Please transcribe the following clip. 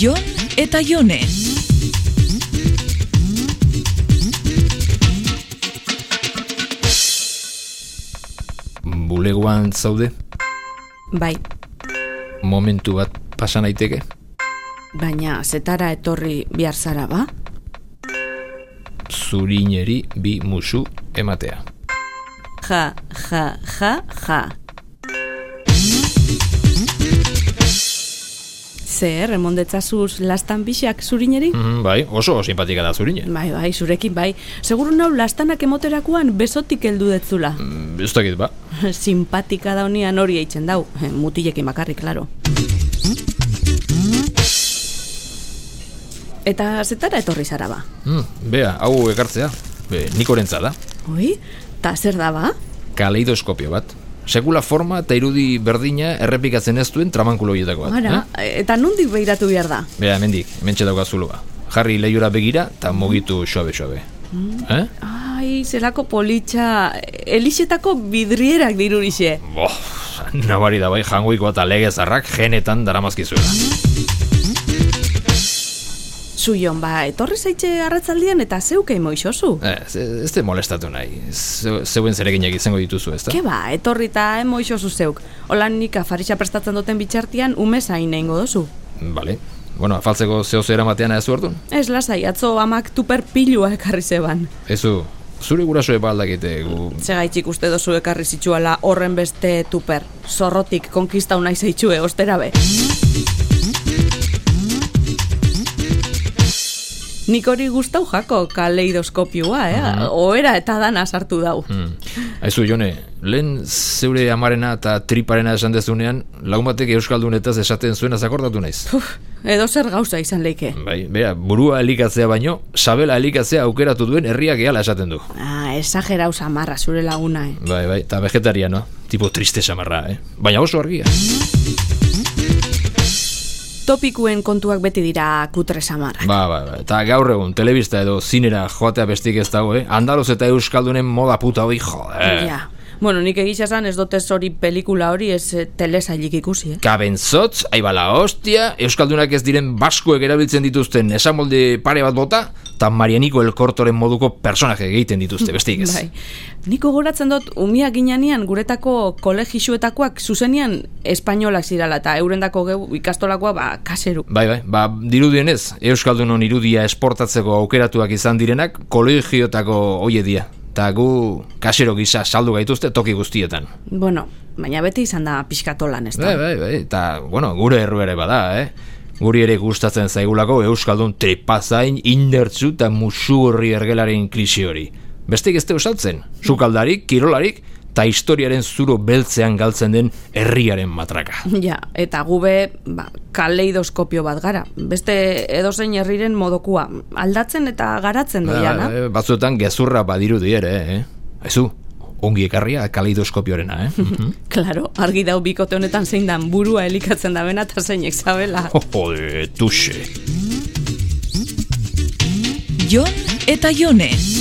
Jon eta Jone. Bulegoan zaude, Bai, momentu bat pasa naiteke. baina zetara etorri bihar zara ba? Zurineri bi musu ematea. Ja, ja, ja, ja. Zer, remondetzazuz lastan bixak zurineri? Mm, bai, oso simpatika da zurine. Bai, bai, zurekin bai. Seguru nau lastanak emoterakoan besotik heldu detzula. Mm, ez dakit ba. Simpatika da honian hori eitzen dau. Eh, Mutilekin bakarrik, klaro. Eta zetara etorri zara ba? Mm, bea, hau ekartzea. Be, nik orentza da. Oi? Ta zer da ba? Kaleidoskopio bat. Sekula forma eta irudi berdina errepikatzen ez duen tramankulo horietako bat. Eh? Ara, eta nondik behiratu behar da? Bea, hemendik, hementxe daukazuloa. Jarri leiura begira eta mugitu suabe-suabe. Eh? Ai, zelako politxa, elixetako bidrierak dirurixe. Bo, nabari da bai jangoiko eta legezarrak genetan daramazkizuela. Zuion, ba, etorri zaitxe arratzaldian eta zeuke moixozu. Ez, Eh, ez te molestatu nahi. Ze- Zeuen zereginak izango dituzu, ezta? Ke ba, etorri eta emoixozu zeuk. Olan nik afaritxa prestatzen duten bitxartian ume zain egingo dozu. Bale. Bueno, afaltzeko zeo zera batean ez orduan? Ez lasai, atzo amak tuper pilua ekarri zeban. Ezu, zure gurasoe baldakite gu... Zegaitxik uste dozu ekarri zitsuala horren beste tuper. Zorrotik konkista unai zaitxue, eh, ostera be. Nik hori gustau jako kaleidoskopioa, eh? Ohera eta dana sartu dau. Hmm. Aizu, Jone, lehen zeure amarena eta triparena esan dezunean, lagun batek euskaldunetaz esaten zuen azakordatu naiz. Puf, edo zer gauza izan leike. Bai, bera, burua elikatzea baino, sabela elikatzea aukeratu duen herriak gehala esaten du. Ah, esagerau samarra zure laguna, eh? Bai, bai, eta vegetarianoa, tipo triste samarra, eh? Baina oso argia. Topikuen kontuak beti dira kutre samarra. Ba, ba, ba, eta gaur egun, telebista edo zinera joatea bestik ez dago, eh? Andaluz eta euskaldunen moda puta hoi, joder. Ja. Bueno, nik egia esan ez dotez hori pelikula hori ez eh, telesailik ikusi, eh? Kabentzotz, aibala hostia, euskaldunak ez diren baskoek erabiltzen dituzten esamolde pare bat bota, eta Marianiko elkortoren moduko personaje egiten dituzte, bestik ez. Bai. Niko goratzen dut, umia ginean guretako kolegixuetakoak zuzenean espainolak zirala eta eurendako geu ikastolakoa ba kaseru. Bai, bai, ba, dirudienez, Euskaldunon irudia esportatzeko aukeratuak izan direnak kolegiotako oie dia. Ta gu kasero gisa saldu gaituzte toki guztietan. Bueno, baina beti izan da pixkatolan ez da. Bai, bai, bai, eta, bueno, gure erru ere bada, eh? Guri ere gustatzen zaigulako Euskaldun tripazain, indertzu eta musu horri ergelaren klixi hori. Bestek ez da usaltzen, sukaldarik, kirolarik, eta historiaren zuro beltzean galtzen den herriaren matraka. Ja, eta gube ba, kaleidoskopio bat gara. Beste edozein herriren modokua. Aldatzen eta garatzen doiana. Ba, eh, batzuetan gezurra badirudi ere, eh? Aizu, ongi ekarria kaleidoskopiorena, eh? Mhm. Claro, argi dau bikote honetan zein dan burua elikatzen da bena eta zeinek zabela. Jode, tuxe. Jon eta Jone.